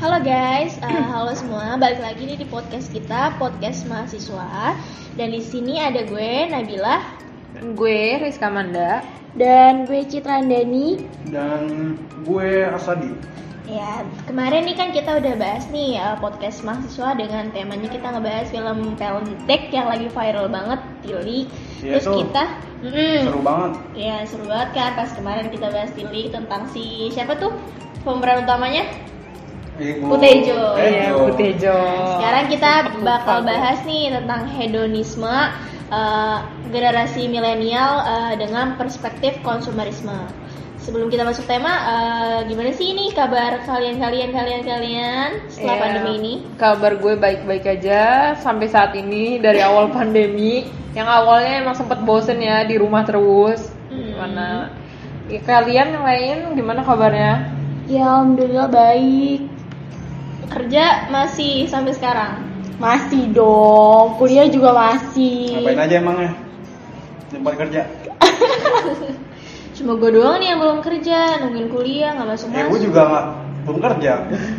Halo guys, eh, halo semua. Balik lagi nih di podcast kita, podcast mahasiswa. Dan di sini ada gue Nabila Gue Rizka Manda. dan gue Citrandani. dan gue Asadi Ya, kemarin nih kan kita udah bahas nih eh, podcast mahasiswa dengan temanya kita ngebahas film Pelentek yang lagi viral banget, Tilik. Iya Terus tuh. kita, Mm-mm. seru banget ya seru banget kan pas kemarin kita bahas Tilik tentang si siapa tuh pemeran utamanya? Ibu Putejo. Eh, Iya, Putejo. Sekarang kita bakal Lupa. bahas nih tentang hedonisme eh, generasi milenial eh, dengan perspektif konsumerisme. Sebelum kita masuk tema, eh, gimana sih ini kabar kalian kalian kalian kalian setelah Iya. pandemi ini? Kabar gue baik-baik aja sampai saat ini dari awal pandemi. Yang awalnya emang sempet bosen ya di rumah terus. Hmm. Gimana? Ya, kalian yang lain gimana kabarnya? Ya alhamdulillah baik. Kerja masih sampai sekarang. Masih dong, kuliah juga masih. ngapain aja emangnya tempat kerja Cuma gue doang nih yang belum kerja, nungguin kuliah nggak masuk eh gue masuk. juga nggak belum kerja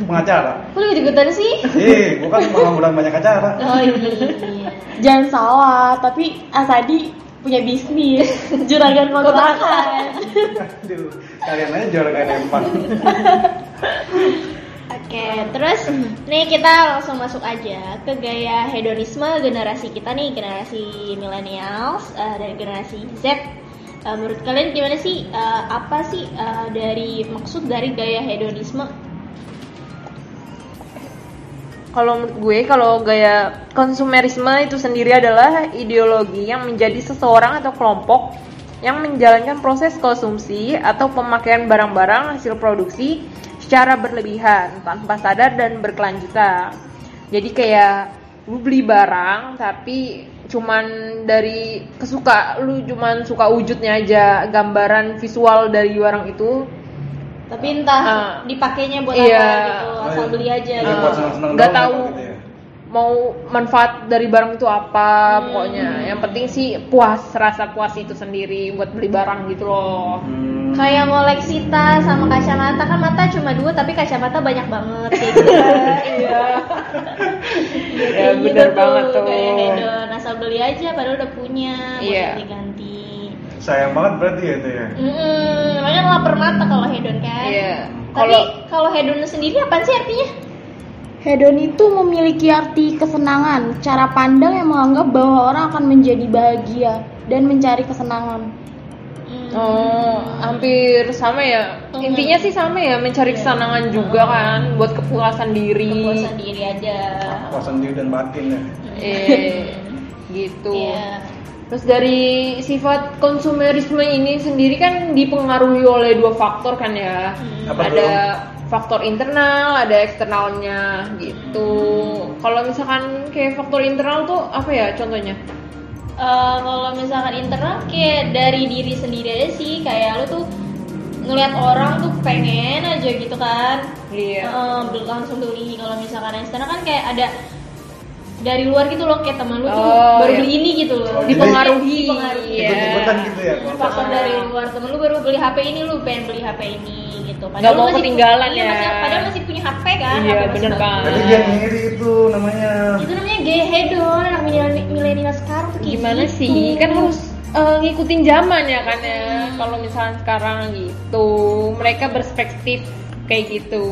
pengacara Lu ikut-ikutan sih? eh gue kan pengangguran banyak acara Oh iya. Jangan salah, tapi Asadi punya bisnis, juragan kontrakan. Aduh, kalian aja juragan empat Oke, terus nih kita langsung masuk aja ke gaya hedonisme generasi kita nih, generasi millennials eh, dan generasi Z. Eh, menurut kalian gimana sih? eh, apa sih eh, dari maksud dari gaya hedonisme? Kalau menurut gue, kalau gaya konsumerisme itu sendiri adalah ideologi yang menjadi seseorang atau kelompok yang menjalankan proses konsumsi atau pemakaian barang-barang hasil produksi secara berlebihan, tanpa sadar dan berkelanjutan. Jadi kayak lu beli barang tapi cuman dari kesuka lu cuman suka wujudnya aja, gambaran visual dari barang itu Tapi entah Ah. dipakainya buat Iya. apa gitu, asal Oh, beli aja iya, gitu. buat senang-senang Nggak doang tahu. gitu ya. mau manfaat dari barang itu Hmm. apa pokoknya yang penting sih puas rasa puas itu sendiri buat beli barang gitu loh Hmm, Kayak ngoleksi tas sama kacamata kan mata cuma dua tapi kacamata banyak banget kayak gitu. iya Kayak gitu bener banget tuh Kayak hedon, asal beli aja padahal udah punya, buat Iya. ganti-ganti. sayang banget berarti ya itu ya Mm-mm, makanya lapar mata kalau hedon kan. iya Tapi kalau kalau hedon sendiri apa sih artinya? Hedon itu memiliki arti kesenangan, cara pandang yang menganggap bahwa orang akan menjadi bahagia dan mencari kesenangan. Hmm. oh hampir sama ya Mhm. intinya sih sama ya mencari Iya. kesenangan juga kan buat kepuasan diri Kepuasan diri aja. puasan diri dan batin ya eh gitu Iya. Terus dari sifat konsumerisme ini sendiri kan dipengaruhi oleh dua faktor kan ya. Hmm. Apa ada faktor internal, ada eksternalnya gitu. Kalau misalkan kayak faktor internal tuh apa ya contohnya? Eh, kalau misalkan internal kayak dari diri sendiri aja sih kayak lu tuh ngelihat orang tuh pengen aja gitu kan Iya. Eh, bel- langsung beli kalau misalkan eksternal kan kayak ada dari luar gitu loh kayak teman lu tuh Oh, baru iya. beli ini gitu loh Oh, jadi Dipengaruhi. Dipengaruhi. Iya. ikut-ikutan gitu ya Ini kalau faktor Ah. dari luar temen lu baru beli HP ini lu pengen beli HP ini gitu Nggak lu mau masih pu- ketinggalan iya, ya. masih, padahal masih punya HP kan Iya, HP masih bener bagus. banget. tapi dia ngiri itu namanya itu namanya gay hedon anak milenial- milenial sekarang tuh kayak Gimana gitu. sih? Kan harus eh, ngikutin zaman ya kan Hmm. ya. Kalau misalkan sekarang gitu, mereka perspektif kayak gitu.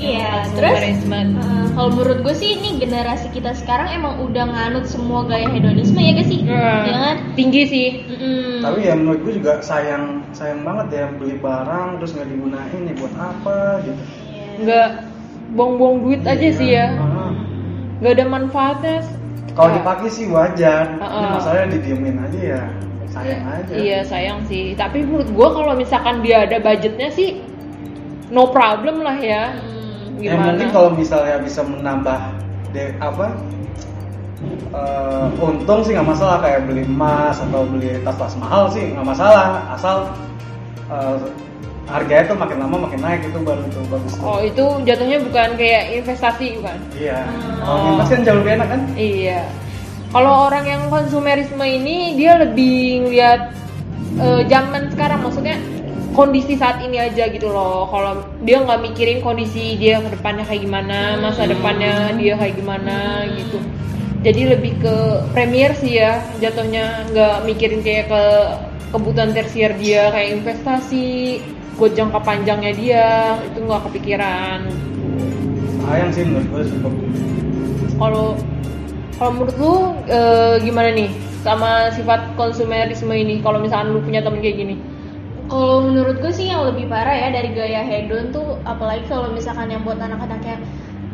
iya terus Konsumerisme. eh, kalau menurut gue sih ini generasi kita sekarang emang udah nganut semua gaya hedonisme ya gak sih? Hmm. Jangan Tinggi sih. Mm-mm. tapi ya menurut gue juga sayang sayang banget ya beli barang terus nggak digunain ya buat apa gitu Iya. nggak buang-buang duit aja sih ya Ah. Hmm. nggak ada manfaatnya Kalau Ah, dipakai sih wajar, Ah, ini ah. masalahnya didiemin aja ya, sayang aja. iya sayang sih tapi menurut gua kalau misalkan dia ada budgetnya sih no problem lah ya Mm. Ya gimana mungkin kalau misalnya bisa menambah de apa eh, untung sih nggak masalah kayak beli emas atau beli tas-tas mahal sih nggak masalah asal eh, harganya tuh makin lama makin naik itu baru itu bagus tuh. oh itu jatuhnya bukan kayak investasi bukan Iya, Ah. Hmm. kalau nginvest kan jauh lebih enak kan? Iya. Kalau orang yang konsumerisme ini dia lebih ngeliat eh, zaman sekarang, maksudnya kondisi saat ini aja gitu loh kalau dia nggak mikirin kondisi dia ke depannya kayak gimana masa depannya dia kayak gimana gitu jadi lebih ke premier sih ya jatuhnya nggak mikirin kayak ke kebutuhan tersier dia kayak investasi buat jangka panjangnya dia itu nggak kepikiran sayang sih menurut gue cukup kalau kalau menurut lu eh, gimana nih sama sifat konsumerisme ini kalau misalkan lu punya temen kayak gini Kalau menurut gue sih yang lebih parah ya dari gaya hedon tuh apalagi kalau misalkan yang buat anak-anak yang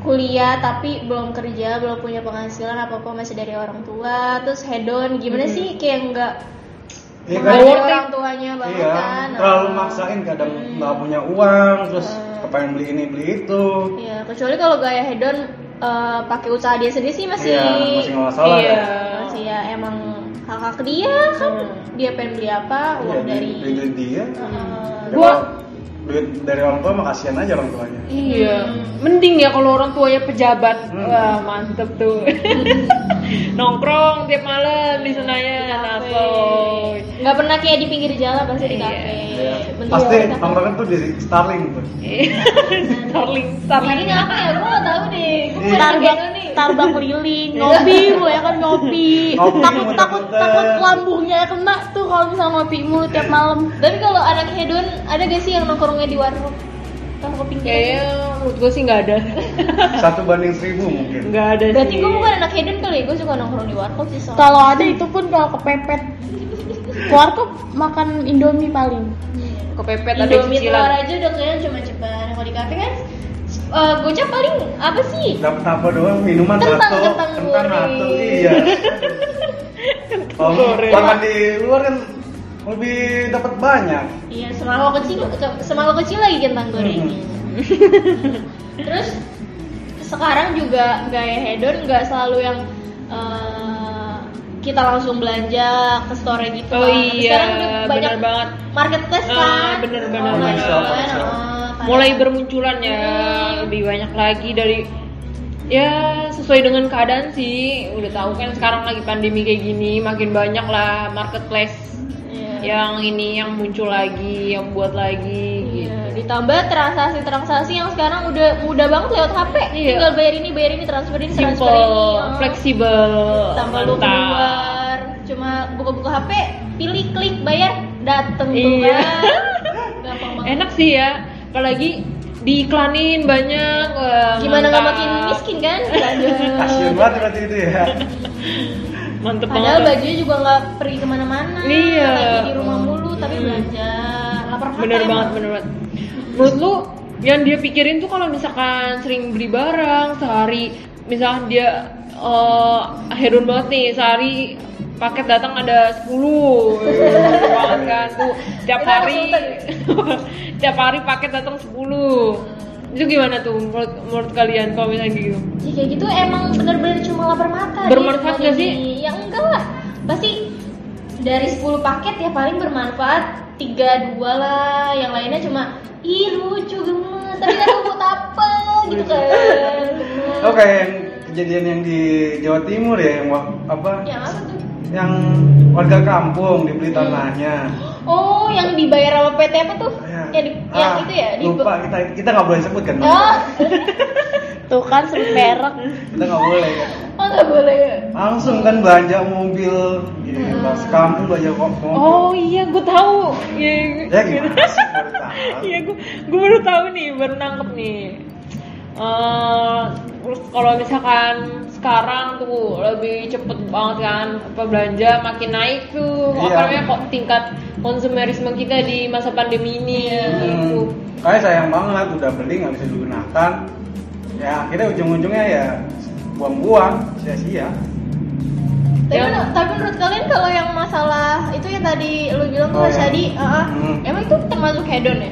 kuliah tapi belum kerja, belum punya penghasilan apa-apa masih dari orang tua, terus hedon gimana sih kayak nggak Hmm. Iya kan? menghargai orang tuanya banget iya kan. terlalu Ah. maksain kadang Hmm. nggak punya uang terus Hmm. kepengen beli ini beli itu Iya, kecuali kalau gaya hedon eh, pakai usaha dia sendiri sih masih iya masih nggak masalah iya. kan? masih ya emang hak-hak dia kan. Dia pengen beli apa, Hmm. Iya, uang dari duit duit dia Eh, Ya, Gua- kalau duit dari orang tua mah kasihan aja orang tuanya Iya, mending ya kalau orang tuanya pejabat. Hmm. Wah, mantep tuh. Nongkrong tiap malam di Senayan, kafe. Asoy. Iya, nggak pernah kayak di pinggir jalan pasti di Iya. kafe Iya. Bentuk pasti kita- tongkrongan tuh di Starling tuh Starling, Starling. ini apa ya gue nggak tahu deh gue Iya. Tarbak, nih Iya. tarbak keliling, ngopi mulu ya kan ngopi. Ngopi, takut takut muter-muter. takut lambungnya kena tuh kalau misalnya ngopi mulu tiap malam. tapi kalau anak hedon ada gak sih yang nongkrongnya di warung atau ke pinggir Kayaknya menurut gue sih nggak ada. satu banding seribu mungkin Nggak ada berarti sih. gue bukan anak hedon kali ya gue suka nongkrong di warung sih soalnya Kalau ada itu pun kalau kepepet. Warkop makan Indomie paling. Kepepet ada Indomie telur cicilan. aja udah kayaknya cuma cepat kalau di kafe kan eh gocap paling apa sih dapat apa doang minuman Kentang, satu kentang goreng. satu iya kalau goreng. makan di luar kan lebih dapat banyak Iya, semangka kecil, ke- semangka kecil lagi kentang gorengnya. Terus sekarang juga gaya hedon nggak selalu yang eh, kita langsung belanja ke store gitu. Oh kan. iya, sekarang udah banyak bener banget. marketplace Ah, kan. bener-bener. Online Online shop, kan, online shop. ah, kan. Mulai bermunculan ya, lebih banyak lagi dari ya sesuai dengan keadaan sih. Udah tahu kan sekarang lagi pandemi kayak gini, makin banyak lah marketplace Iya. yang ini yang muncul lagi yang buat lagi Iya, Ditambah transaksi-transaksi yang sekarang udah mudah banget lewat HP. Iya. Tinggal bayar ini, bayar ini, transfer ini, gitu. transfer ini. simple ah. fleksibel tambah lu mantap. keluar cuma buka-buka HP pilih klik bayar dateng tuh Iya. kan gampang banget enak sih ya apalagi diiklanin banyak wah, gimana nggak mantap. makin miskin kan kasian banget berarti itu ya mantep padahal banget bajunya juga nggak pergi kemana-mana Iya. lagi di rumah mulu tapi Hmm. belanja kan? lapar mata bener emang. banget bener banget menurut lu yang dia pikirin tuh kalau misalkan sering beli barang sehari misalkan dia eh hedon banget nih sehari paket datang ada 10 Banyak banget kan tuh tiap Kita hari konsultan tiap hari paket datang 10 itu gimana tuh menurut, menurut kalian kalau misalnya gitu ya kayak gitu emang bener-bener cuma lapar mata dia Bermanfaat cuma nggak sih? ini. ya enggak lah pasti dari 10 paket ya paling bermanfaat tiga dua lah yang lainnya cuma ih lucu gemes tapi nggak tahu buat apa gitu kan Gemes. oke yang kejadian yang di Jawa Timur ya yang wa- apa yang apa tuh yang warga kampung dibeli tanahnya oh yang dibayar sama PT apa tuh yang, di, yang Oh, Ah, itu ya di lupa kita kita nggak boleh sebut kan oh Tuh kan sering merek. kita nggak boleh ya. oh nggak boleh ya langsung kan belanja mobil gitu Hmm. pas kampung belanja kok mobil oh iya gue tahu Iya. ya gimana sih baru tahu. Iya, gue baru tahu nih, baru nangkep nih. Eh, terus kalau misalkan sekarang tuh lebih cepet banget kan apa belanja makin naik tuh Iya. apa namanya kok tingkat konsumerisme kita di masa pandemi ini gitu. Hmm, kayak sayang banget udah beli nggak bisa digunakan ya akhirnya ujung-ujungnya ya buang-buang sia-sia Tapi, Ya. menur- tapi menurut kalian kalau yang masalah itu yang tadi lu bilang Oh, tuh ya. tadi, ah, ah, Hmm. emang itu termasuk hedon ya?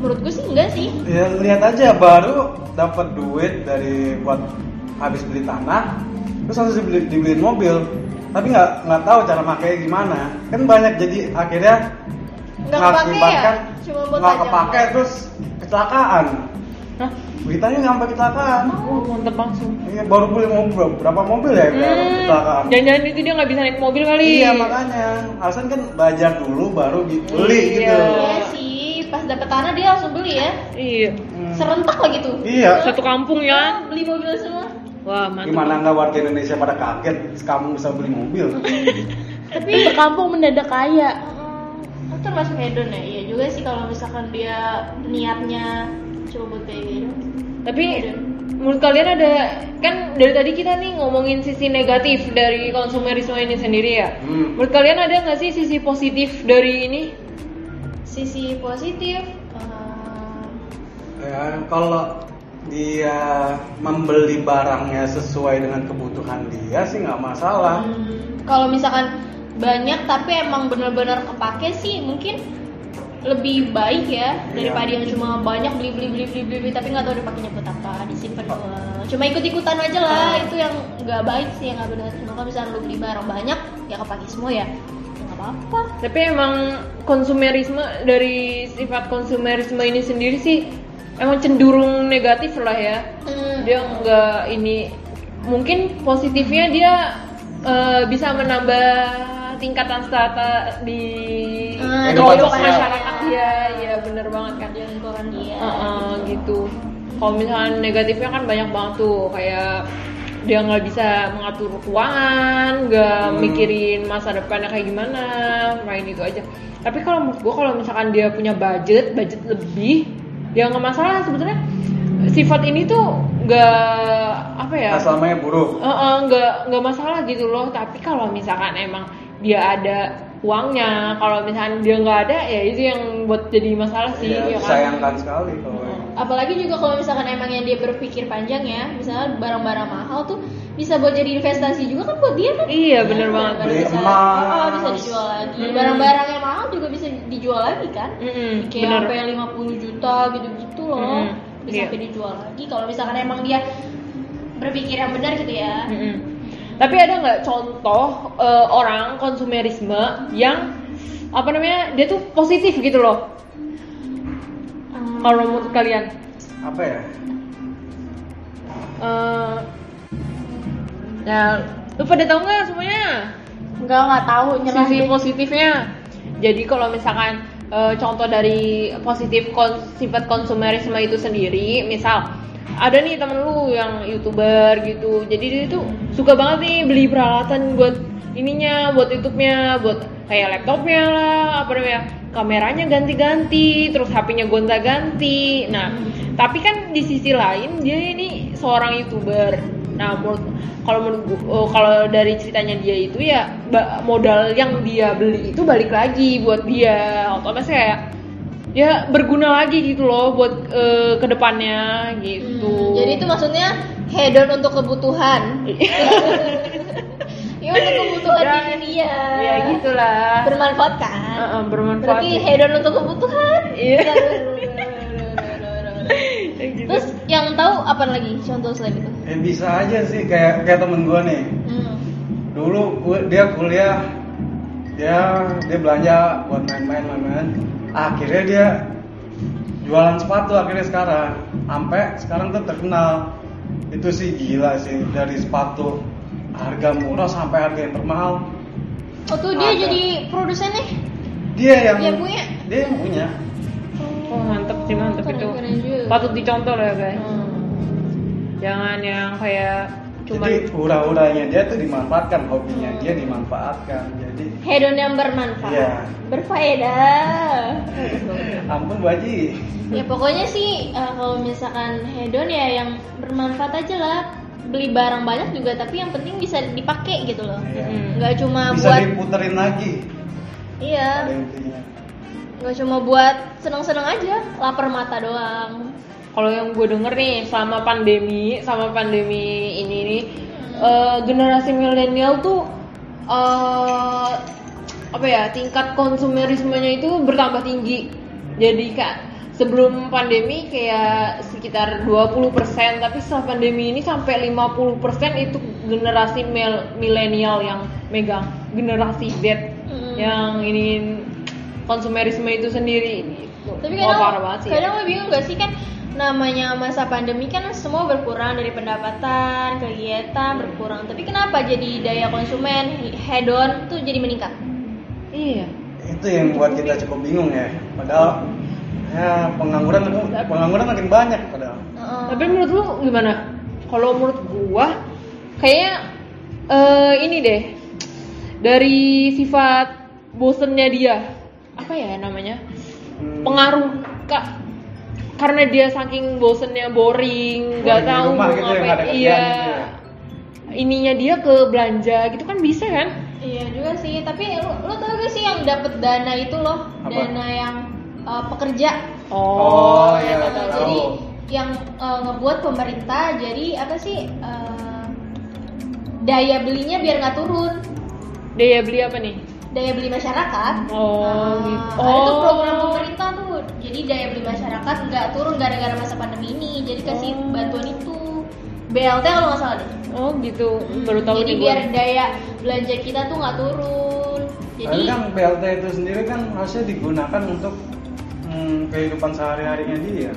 Menurut gue sih enggak sih. ya lihat aja baru dapat duit dari buat habis beli tanah terus harus dibeli, dibeliin mobil tapi nggak nggak tahu cara makainya gimana kan banyak jadi akhirnya Nggak kepake mengakibatkan ya? Cuma buat nggak pajak. kepake terus kecelakaan Hah, beritanya nggak sampai kecelakaan oh, mantep langsung. Iya, baru beli mobil berapa mobil ya yang Hmm. kecelakaan Hmm. Jangan-jangan itu dia nggak bisa naik mobil kali. Iya makanya, alasan kan belajar dulu baru bi- beli Iya. Iya gitu. sih. pas dapet tanah dia langsung beli ya Iya. Hmm. serentak lah gitu Iya. Satu kampung ya. Ah, beli mobil semua Wah, mantap. Gimana nggak warga Indonesia pada kaget kamu bisa beli mobil? Tapi berkampung mendadak kaya. Hmm, termasuk hedon ya iya juga sih kalau misalkan dia niatnya cuma buat kayak gitu Tapi menurut kalian ada kan dari tadi kita nih ngomongin sisi negatif dari konsumerisme ini sendiri ya. Hmm. Menurut kalian ada nggak sih sisi positif dari ini? sisi positif eh, Ya, kalau dia membeli barangnya sesuai dengan kebutuhan dia sih nggak masalah. Hmm, kalau misalkan banyak tapi emang bener-bener kepake sih mungkin lebih baik ya daripada yang cuma banyak beli beli beli beli beli, beli, tapi nggak tahu dipakainya buat apa disimpan doang cuma ikut ikutan aja lah itu yang nggak baik sih yang nggak benar cuma kalau misalkan lu beli barang banyak ya kepake semua ya ya nggak apa-apa Tapi emang konsumerisme dari sifat konsumerisme ini sendiri sih emang cenderung negatif lah ya. Hmm, Dia nggak ini mungkin positifnya dia eh, bisa menambah tingkatan strata di Ah, di kelompok kehidupan. masyarakat dia, ya bener banget kan. dia lingkungan dia Heeh, gitu. Kalau misalnya negatifnya kan banyak banget tuh, kayak dia nggak bisa mengatur keuangan, nggak Hmm. mikirin masa depannya kayak gimana, main itu aja. Tapi kalau menurut gue kalau misalkan dia punya budget, budget lebih, ya nggak masalah sebetulnya. Sifat ini tuh nggak apa ya? Asalnya buruk. Eh, eh, nggak nggak masalah gitu loh tapi kalau misalkan emang dia ada uangnya kalau misalkan dia nggak ada ya itu yang buat jadi masalah sih Ya, ya kan? sayangkan sekali kalau. apalagi juga kalau misalkan emang yang dia berpikir panjang ya misalnya barang-barang mahal tuh bisa buat jadi investasi juga kan buat dia kan iya bener banget Barang-barang Beli bisa- emas. oh, bisa dijual lagi Hmm. barang-barang yang mahal juga bisa dijual lagi kan Mm-mm, kayak bener. sampai 50 juta gitu-gitu loh Hmm, bisa iya. sampai dijual lagi kalau misalkan emang dia berpikir yang benar gitu ya Mm-mm. tapi ada nggak contoh eh, orang konsumerisme yang apa namanya dia tuh positif gitu loh Hmm, kalau menurut kalian Apa ya? Eh, ya lu pada tahu nggak semuanya Enggak nggak tahu nyerah sisi deh. positifnya. Jadi kalau misalkan eh, contoh dari positif kon- sifat konsumerisme itu sendiri, misal ada nih temen lu yang youtuber gitu, jadi dia tuh suka banget nih beli peralatan buat ininya, buat youtube-nya, buat kayak laptopnya lah, apa namanya, kameranya ganti-ganti, terus HP-nya gonta-ganti. Nah, tapi kan di sisi lain dia ini seorang youtuber. Nah, menurut- kalau menurut gua- oh, kalau dari ceritanya dia itu ya ba- modal yang dia beli itu balik lagi buat dia. Otomatis kayak ya berguna lagi gitu loh buat eh, kedepannya Hmm, gitu. jadi itu maksudnya hedon untuk kebutuhan ya untuk kebutuhan Ya, diri dia ya gitulah. bermanfaat kan Heeh, bermanfaat. berarti hedon untuk kebutuhan Iya. Gitu. Terus Iya. yang tahu apa lagi contoh selain itu? Eh, bisa aja sih kayak kayak temen gue nih. Hmm. Dulu gua- dia kuliah, dia dia belanja buat main-main main-main. Akhirnya dia jualan sepatu akhirnya sekarang. Sampai sekarang tuh terkenal. Itu sih gila sih dari sepatu harga murah sampai harga yang termahal. Oh tuh dia Ada. jadi produsen nih. Dia yang Yang punya? Dia yang punya. Oh, mantep sih mantep Keren, itu. keren juga. Patut dicontoh lah ya, guys. Hmm. Jangan yang kayak cuman Jadi hura-huranya dia tuh dimanfaatkan, hobinya Hmm. dia dimanfaatkan. Jadi Hedon yang bermanfaat, Iya. berfaedah. ampun Bu Haji. ya pokoknya sih eh, kalau misalkan hedon ya yang bermanfaat aja lah. Beli barang banyak juga tapi yang penting bisa dipakai gitu loh. Iya. Mm. Nggak cuma Bisa buat diputerin lagi. iya, Ada intinya. nggak cuma buat seneng-seneng aja, lapar mata doang. kalau yang gue denger nih selama pandemi sama pandemi ini nih eh, generasi milenial tuh eh apa ya tingkat konsumerismenya itu bertambah tinggi jadi kak sebelum pandemi kayak sekitar 20% tapi setelah pandemi ini sampai 50% itu generasi mil- milenial yang megang generasi Z Hmm. yang ini konsumerisme itu sendiri gitu. Tapi Wah, kadang, parah banget sih ya. kadang gue bingung gak sih kan namanya masa pandemi kan semua berkurang dari pendapatan, kegiatan berkurang. Tapi kenapa jadi daya konsumen hedon tuh jadi meningkat? iya Itu yang buat kita cukup bingung ya. Padahal ya pengangguran pengangguran makin banyak padahal Tapi menurut lu gimana? Kalau menurut gua kayaknya eh, ini deh dari sifat bosennya dia apa ya namanya Hmm, pengaruh kak karena dia saking bosennya boring nggak Boring di tahu rumah mau gitu ya, nggak ada ngapain kerjaan iya gitu ya. ininya dia ke belanja gitu kan bisa kan Iya juga sih, tapi lu, lu tau gak sih yang dapat dana itu loh, Apa? dana yang uh, pekerja. Oh, iya, Nah, tahu. jadi yang uh, ngebuat pemerintah jadi apa sih uh, daya belinya biar nggak turun, daya ya, beli apa nih daya beli masyarakat. Oh, Nah, gitu. Ada tuh Oh. program pemerintah tuh, jadi daya beli masyarakat nggak turun gara-gara masa pandemi ini, jadi kasih Oh. bantuan itu. BLT kalau nggak salah deh. oh gitu baru tahu jadi nih gua. biar daya belanja kita tuh nggak turun. Jadi Tapi kan BLT itu sendiri kan harusnya digunakan untuk hmm, kehidupan sehari-harinya dia.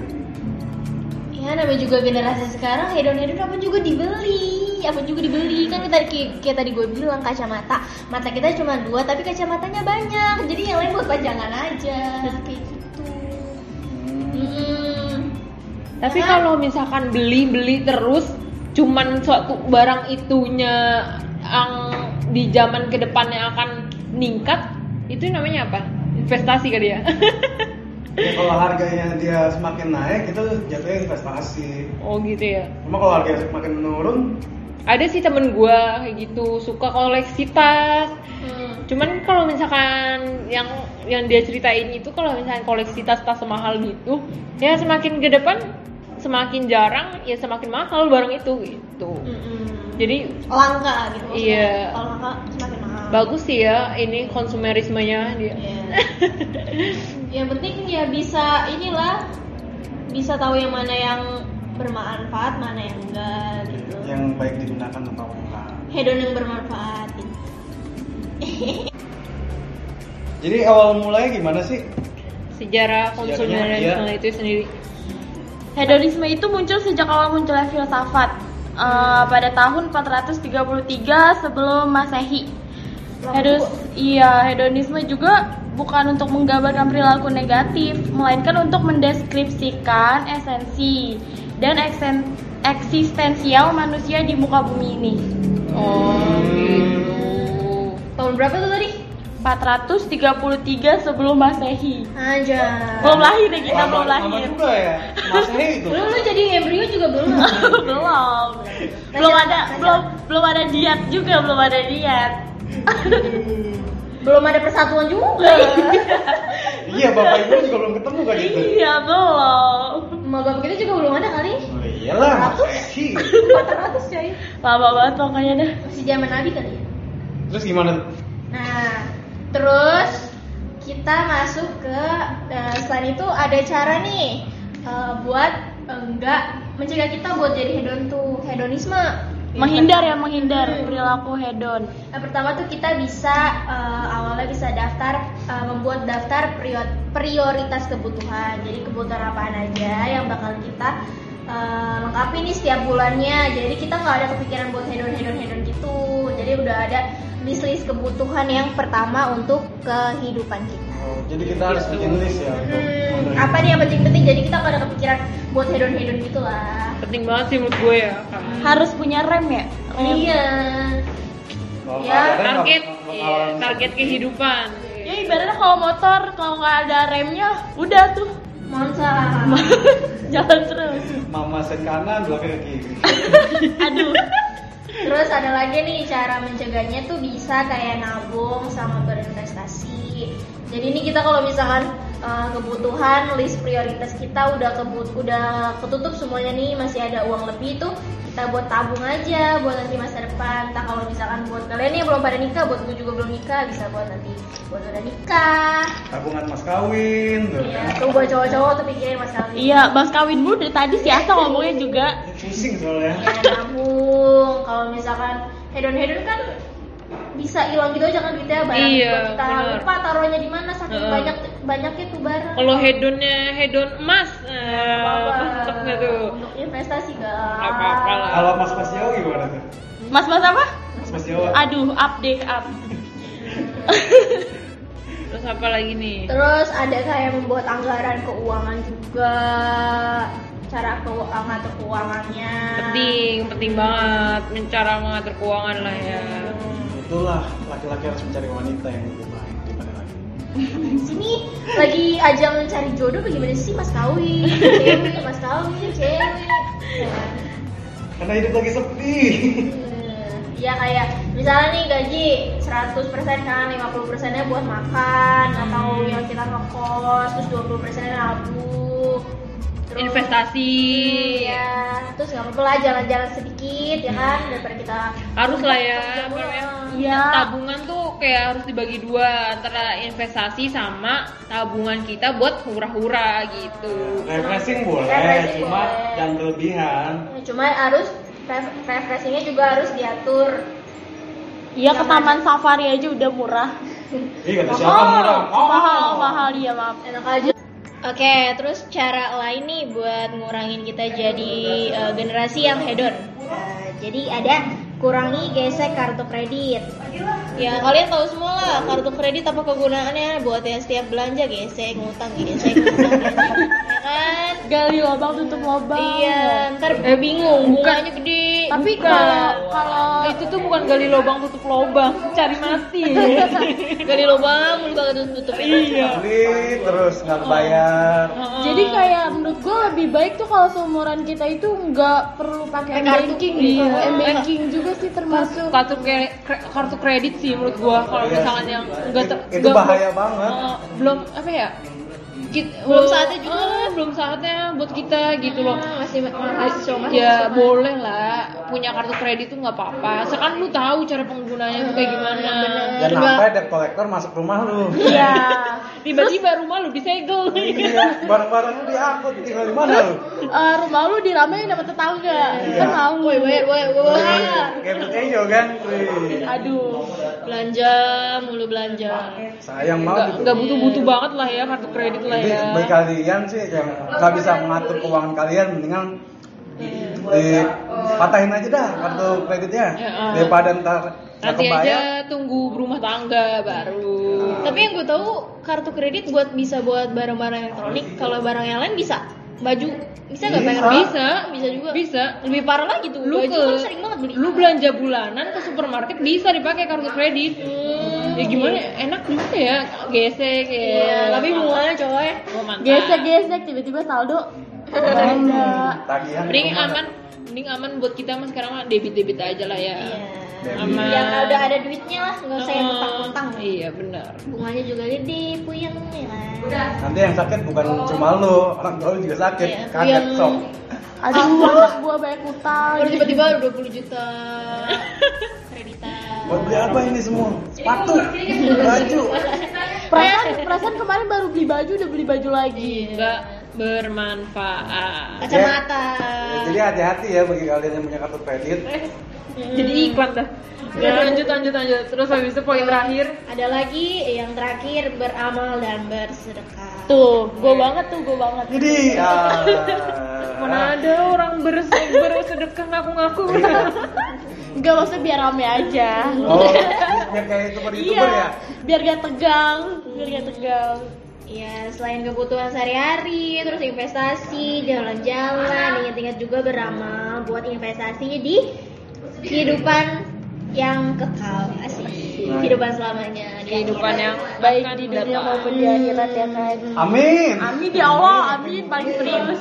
Ya namanya juga generasi sekarang hedon-hedon apa juga dibeli apa juga dibeli kan kita kayak tadi gue bilang kacamata mata kita cuma dua tapi kacamatanya banyak jadi yang lain buat pajangan aja kayak gitu Hmm. Mm-mm. Tapi Karena- kalau misalkan beli-beli terus cuman suatu barang itunya yang di zaman kedepannya akan meningkat, itu namanya apa? Investasi kali ya? Ya, kalau harganya dia semakin naik itu jatuhnya investasi. oh gitu ya. Cuma kalau harganya semakin menurun, Ada sih temen gua kayak gitu suka koleksi tas. Hmm. Cuman kalau misalkan yang yang dia ceritain itu kalau misalkan koleksi tas-tas mahal gitu, ya semakin ke depan semakin jarang, ya semakin mahal barang itu gitu. hmm, Mm-mm. Jadi langka gitu maksudnya. Iya. kalau langka semakin mahal Bagus sih ya ini konsumerismenya dia. Iya. yang penting ya bisa inilah bisa tahu yang mana yang bermanfaat mana yang enggak gitu yang baik digunakan atau enggak. hedon yang bermanfaat gitu. Jadi awal mulanya gimana sih? Sejarah konsumerisme Sejarahnya, iya. itu sendiri. Hedonisme itu muncul sejak awal munculnya filsafat eh, pada tahun 433 sebelum Masehi. Hedon, iya, hedonisme juga bukan untuk menggambarkan perilaku negatif, melainkan untuk mendeskripsikan esensi dan eksen- eksistensial manusia di muka bumi ini. Oh gitu. tahun berapa tuh tadi 433 sebelum Masehi. aja Belum lahir ya kita, belum Lama- lama lahir. juga ya. Masih itu. lu lu jadi embrio juga belum belum belum ada belum belum ada diet juga belum ada diet belum ada persatuan juga iya, Bapak Ibu juga belum ketemu kan gitu. iya belum emak bapak kita juga belum ada kali Oh, iyalah, Masehi. 400 coy lama banget pokoknya deh masih zaman nabi kali ya Terus gimana? nah terus kita masuk ke nah, selain itu ada cara nih eh, buat enggak mencegah kita buat jadi hedon tuh hedonisme Hmm. menghindar ya menghindar perilaku hedon Nah, pertama tuh kita bisa eh, awalnya bisa daftar eh, membuat daftar prior- prioritas kebutuhan. Jadi kebutuhan apaan aja yang bakal kita eh, lengkapi nih setiap bulannya. Jadi kita nggak ada kepikiran buat hedon hedon hedon gitu. Jadi udah ada list list kebutuhan yang pertama untuk kehidupan kita. Oh, jadi kita harus bikin list ya untuk Hmm, untuk- apa nih yang penting-penting? Jadi kita nggak ada kepikiran buat hedon hedon gitu lah. Penting banget sih menurut gue ya. Kak. harus punya rem ya Rem. Iya. Kalau Ya, keadaan nggak- Target nggak iya, bakalan bisa target kehidupan. ya ibaratnya kalau motor kalau nggak ada remnya udah tuh Mohon salah. jalan terus Mama set kanan, belakang kiri. aduh Terus ada lagi nih cara mencegahnya tuh bisa kayak nabung sama berinvestasi. Jadi ini kita kalau misalkan uh, kebutuhan list prioritas kita udah kebut udah ketutup semuanya nih masih ada uang lebih tuh kita buat tabung aja buat nanti masa depan. Entah kalau misalkan buat kalian yang belum pada nikah, buat gue juga belum nikah bisa buat nanti buat udah nikah. Tabungan mas kawin, tuh Ya, kan. tuh buat cowok-cowok tuh pikirin masalah ini. iya mas kawin bu dari tadi si Asa ngomongnya juga Ini Pusing soalnya. Ya, nabung kalau misalkan hedon-hedon kan bisa hilang gitu aja kan duitnya barang Iya, juga kita benar. lupa taruhnya di mana saking Heeh. banyak banyaknya tuh barang Kalau hedonnya hedon emas, eh, Apa-apa. mantep nggak tuh? untuk investasi gak Apa-apa lah. Kalau mas mas Jawa gimana tuh? mas mas apa Mas mas Jawa. aduh update up Terus apa lagi nih? Terus ada kayak membuat anggaran keuangan juga, cara keuangan atau keuangannya. Penting, penting banget mencara mengatur keuangan lah ya. Itulah laki-laki harus mencari wanita yang lebih baik daripada lagi. Di sini lagi ajang mencari jodoh bagaimana sih Mas Kawi? Cewek, Mas Kawi, cewek. Ya kan? Karena hidup lagi sepi. Hmm, Ya kayak misalnya nih gaji 100% kan 50% nya buat makan Hmm. atau yang kita ngekos terus 20% nya nabung terus, Investasi. Iya, terus nggak apa-apa lah jalan-jalan sedikit ya kan daripada kita Hmm. Harus lah ya, Iya. apa namanya? Iya. Tabungan tuh kayak harus dibagi dua antara investasi sama tabungan kita buat hura-hura gitu. Refreshing boleh, Refreshing cuma boleh. jangan berlebihan. cuman harus ref- refreshingnya juga harus diatur Iya ke taman safari aja udah murah. Oh, Iya kata siapa murah? mahal, mahal ya maaf. enak aja Oke, terus cara lain nih buat ngurangin kita jadi eh, generasi yang hedon. Eh, jadi ada kurangi gesek kartu kredit. Ya kalian tahu semua lah kartu kredit apa kegunaannya buat yang setiap belanja gesek, ngutang gesek, ngutang gesek. ya kan? Gali lubang tutup lubang. Iya, ntar bingung bunganya gede. Tapi kalau kalau itu tuh bukan gali lubang tutup lubang, cari mati. Gali lubang mulu kagak tutup Iya. Beli terus nggak bayar. Ah. Jadi kayak menurut gue lebih baik tuh kalau seumuran kita itu nggak perlu pakai banking, banking juga sih termasuk. kartu kre- kre- kartu kredit sih menurut gua kalau Iya misalkan sih. yang enggak ter- Itu nggak- bahaya banget. Eh, belum apa ya Kit- Belum eh, saatnya juga. kan? Ah, eh, belum saatnya buat kita gitu loh Masih mahasiswa masih. ya boleh lah punya kartu kredit tuh nggak apa-apa sekarang lu tahu cara penggunanya tuh Ah, kayak gimana Jangan sampai debt collector masuk rumah lu. Iya. tiba-tiba rumah lu disegel Iya, barang-barang lu diangkut tinggal di mana lu? Eh, rumah lu diramein sama tetangga. Kan mau. Kayak Tejo kan? Wih. Aduh. Belanja mulu belanja. Sayang nggak banget itu. nggak butuh-butuh banget lah ya kartu kredit lah gitu. Jadi ya bagi kalian sih yang nggak bisa mengatur keuangan kalian mendingan dipatahin aja dah kartu kreditnya Ya, ah. daripada ntar nggak nanti kebayar. aja tunggu berumah tangga baru Tapi yang gue tahu kartu kredit buat bisa buat barang-barang elektronik. Kalau barang yang lain bisa. Baju bisa Iya. nggak Bisa. bayar? bisa Kan Bisa juga. bisa Lebih parah lagi tuh. lu Baju ke kan sering banget beli. lu belanja bulanan ke supermarket bisa dipakai kartu kredit ya gimana enak juga ya gesek ya Hmm. Iya, tapi bunganya coy. Oh, mantap. Gesek-gesek tiba-tiba saldo. Ada. Tagihan. mending kemana? aman mending aman buat kita mas sekarang mah debit debit aja lah ya Iya. aman Yang udah ada duitnya lah, nggak usah yang utang-utang. iya benar Bunganya juga gede, puyeng ya kan. Nanti yang sakit bukan cuma lu, orang tua lu juga sakit. Iya, Kaget yang- sok. Aduh, anak gua banyak utang. Baru tiba-tiba 20 juta kreditan. Buat beli apa ini semua? Sepatu, baju. Perasaan, perasaan kemarin baru beli baju udah beli baju lagi. nggak bermanfaat Kacamata. Jadi hati-hati ya bagi kalian yang punya kartu kredit. Eh, jadi iklan dah Ya, Hmm. lanjut lanjut lanjut terus habis itu poin terakhir Ada lagi yang terakhir beramal dan bersedekah. Tuh, gua banget tuh, gua banget. Jadi ah, mana ada orang bersedekah bersedekah ngaku-ngaku Enggak maksudnya biar rame aja. Oh, biar kayak Iya. youtuber-youtuber ya? Biar gak tegang, biar gak tegang. Ya, selain kebutuhan sehari-hari, terus investasi, jalan-jalan, ingat-ingat juga beramal buat investasi di kehidupan yang kekal, asik. Kehidupan selamanya. di kehidupan akhirat. Hmm. yang Baik akan di dunia datang. maupun di akhirat ya kan. Amin. Amin ya Allah, amin paling serius.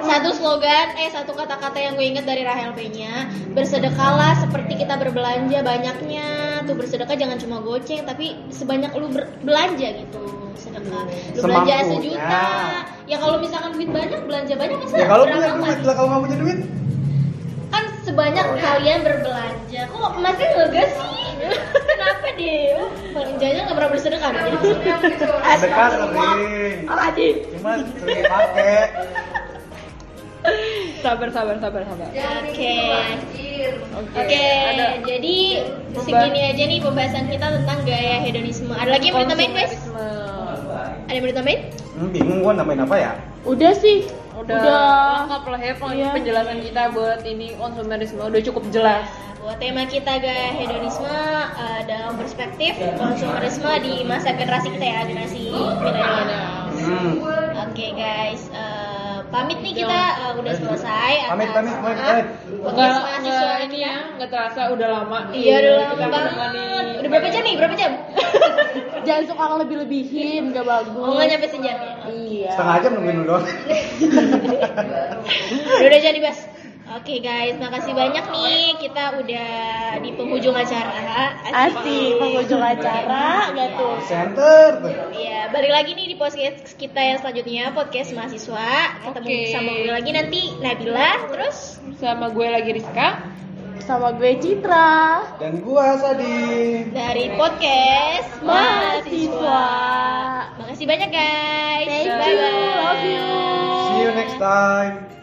Satu slogan, eh satu kata-kata yang gue inget dari Rahel P-nya Bersedekahlah seperti kita berbelanja banyaknya Tuh bersedekah jangan cuma goceng Tapi sebanyak lu ber- belanja gitu Sedekah Lu belanja Semampunya. sejuta Ya kalau misalkan duit banyak, belanja banyak masa Ya kalau punya beramal duit kan? lah kalau nggak punya duit. Kan sebanyak kalian berbelanja Kok masih ngegas sih? Kenapa deh? Belanjanya gak pernah bersedekah dong. Sedekah sering. Cuma sering pakai. sabar sabar sabar sabar Oke. Oke. Jadi segini aja nih pembahasan kita tentang gaya hedonisme. Ada lagi yang Oh, mau ditambahin, guys? Ada yang mau ditambahin? Hmm, bingung gua namain apa ya? Udah sih, udah, lengkap lah ya pen- Iya. penjelasan kita buat ini konsumerisme udah cukup jelas Nah, buat tema kita gaya hedonisme eh, dalam perspektif perspektif konsumerisme di masa generasi kita ya generasi milenial. Hmm. Oke guys, eh, pamit nih kita eh, udah selesai. Pamit, atas- pamit, pamit, pamit. Podcast Nggak- mahasiswa nggak ini ya, nggak terasa udah lama. Iya udah lama kita banget. menemani- Udah berapa jam nih? Berapa jam? Jangan suka lebih-lebihin, gak bagus. Oh nggak nyampe sejam ya? Iya. Setengah jam nungguin lu doang. Udah udah jadi bas. Oke guys, makasih banyak nih kita udah di penghujung acara. Asik, penghujung acara, gak tuh. Center tuh. Iya, balik lagi nih di podcast kita yang selanjutnya podcast mahasiswa. Ketemu Oke. sama gue lagi nanti Nabila, terus Sama gue lagi Rizka. Sama gue Citra. Dan gua Sadi. dari podcast mahasiswa. Makasih banyak guys. Thank Bye-bye. you, love you. See you next time.